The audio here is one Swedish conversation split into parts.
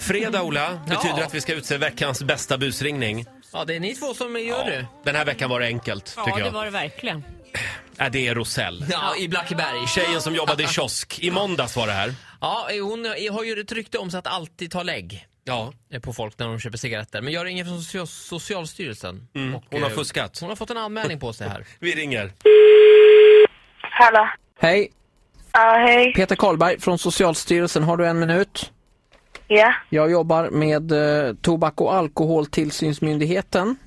Fredag, Ola, betyder Ja. att vi ska utse veckans bästa busringning. Ja, det är ni två som gör det. Den här veckan var det enkelt, Ja, tycker det jag. var det verkligen. Ja, det är Rosell. Ja, i Blackeberg. Tjejen som jobbade i kiosk. I måndags var det här. Ja, hon har ju ett rykte om sig att alltid ta lägg eh, Ja. på folk när de köper cigaretter. Men jag ringer från Social- Socialstyrelsen. Och, Hon har eh, fuskat. Hon har fått en anmälning på sig här. Vi ringer. Hallå. Hej, Ja, hej. Peter Karlberg från Socialstyrelsen. Har du en minut? Ja. Jag jobbar med eh, Tobak och alkoholtillsynsmyndigheten.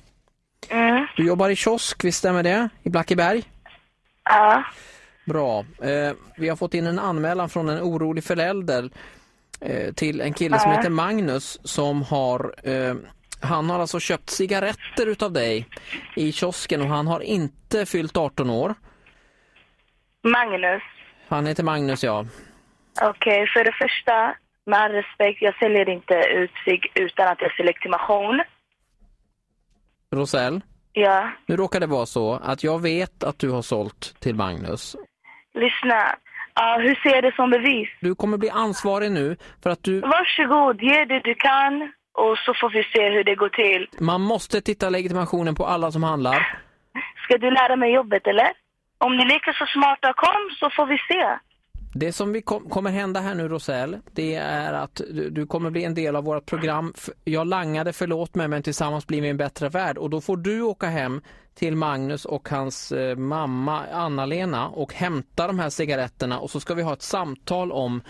Mm. Du jobbar i kiosk, visst stämmer det? I Blackeberg? Ja. Bra. Eh, vi har fått in en anmälan från en orolig förälder eh, till en kille som Ja. heter Magnus som har eh, han har alltså köpt cigaretter utav dig i kiosken och han har inte fyllt 18 år. Magnus. Han heter Magnus ja. Okej, för det första, med all respekt, jag säljer inte ut cigg utan att jag ser legitimation. Rosell, Ja. nu råkar det vara så att jag vet att du har sålt till Magnus Lyssna. Ja, hur ser jag det som bevis? Du kommer bli ansvarig nu för att du, Varsågod, ge det du kan och så får vi se hur det går till. man måste titta legitimationen på alla som handlar. Ska du lära mig jobbet eller? Om ni leker så smarta, kom så får vi se. Det som vi kom, kommer hända här nu Rosell, det är att du, du kommer bli en del av vårt program. F- Jag langade, förlåt mig, men tillsammans blir vi en bättre värld. Och då får du åka hem till Magnus och hans eh, mamma Anna-Lena och hämta de här cigaretterna och så ska vi ha ett samtal om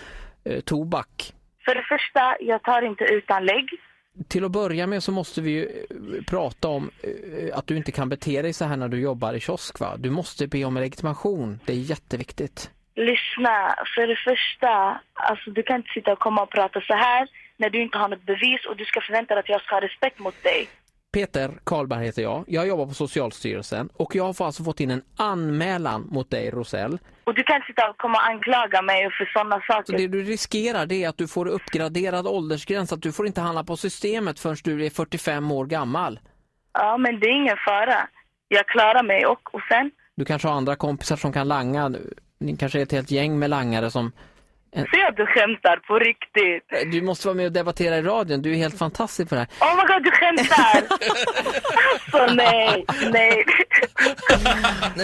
eh, tobak. För det första, jag tar inte utan lägg. Till att börja med så måste vi ju eh, prata om eh, att du inte kan bete dig så här när du jobbar i kiosk. Va? Du måste be om legitimation. Det är jätteviktigt. Lyssna, för det första, alltså du kan inte sitta och komma och prata så här när du inte har något bevis och du ska förvänta dig att jag ska ha respekt mot dig. Peter Karlberg heter jag. Jag jobbar på Socialstyrelsen och jag har alltså fått in en anmälan mot dig Rosell. Och du kan inte sitta och komma och anklaga mig för sådana Så saker. det du riskerar det är att du får uppgraderad åldergräns, att du får inte handla på systemet förrän du är 45 år gammal. Ja, men det är ingen fara. Jag klarar mig och, och sen, Du kanske har andra kompisar som kan langa. Ni kanske är ett helt gäng med langare som... Eh, ser att du skämtar på riktigt. Du måste vara med och debattera i radion. Du är helt fantastisk på det här. Oh my god, du skämtar! alltså nej, nej.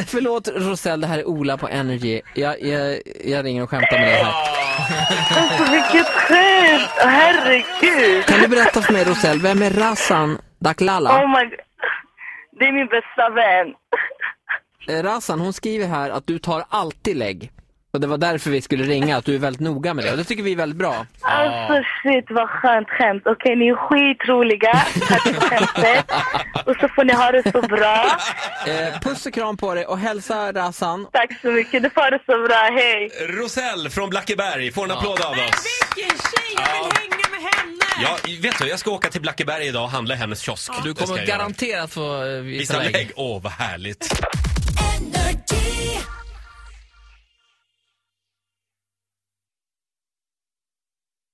Förlåt Rosell, det här är Ola på Energy. Jag, jag, jag ringer och skämtar med dig här. Alltså vilket skämt! Herregud! Kan du berätta för mig Rosell, vem är Razan Daklala? Oh my god. Det är min bästa vän. Eh, Razan, hon skriver här att du tar alltid lägg. Och det var därför vi skulle ringa, att du är väldigt noga med det. Och det tycker vi är väldigt bra. Alltså shit vad skönt skämt. Okej ni är skitroliga. Tack för skämtet. Och så får ni ha det så bra. Eh, puss och kram på dig och hälsa Razan. Tack så mycket. Ni får ha det så bra. Hej. Rosell från Blackeberg får en applåd av oss. Vilken tjej! Jag vill hänga med henne! Ja, vet du, jag ska åka till Blackeberg idag och handla i hennes kiosk. Du Det ska kommer jag göra. garanterat få eh, Visa visa lägg. lägg. Åh, vad härligt.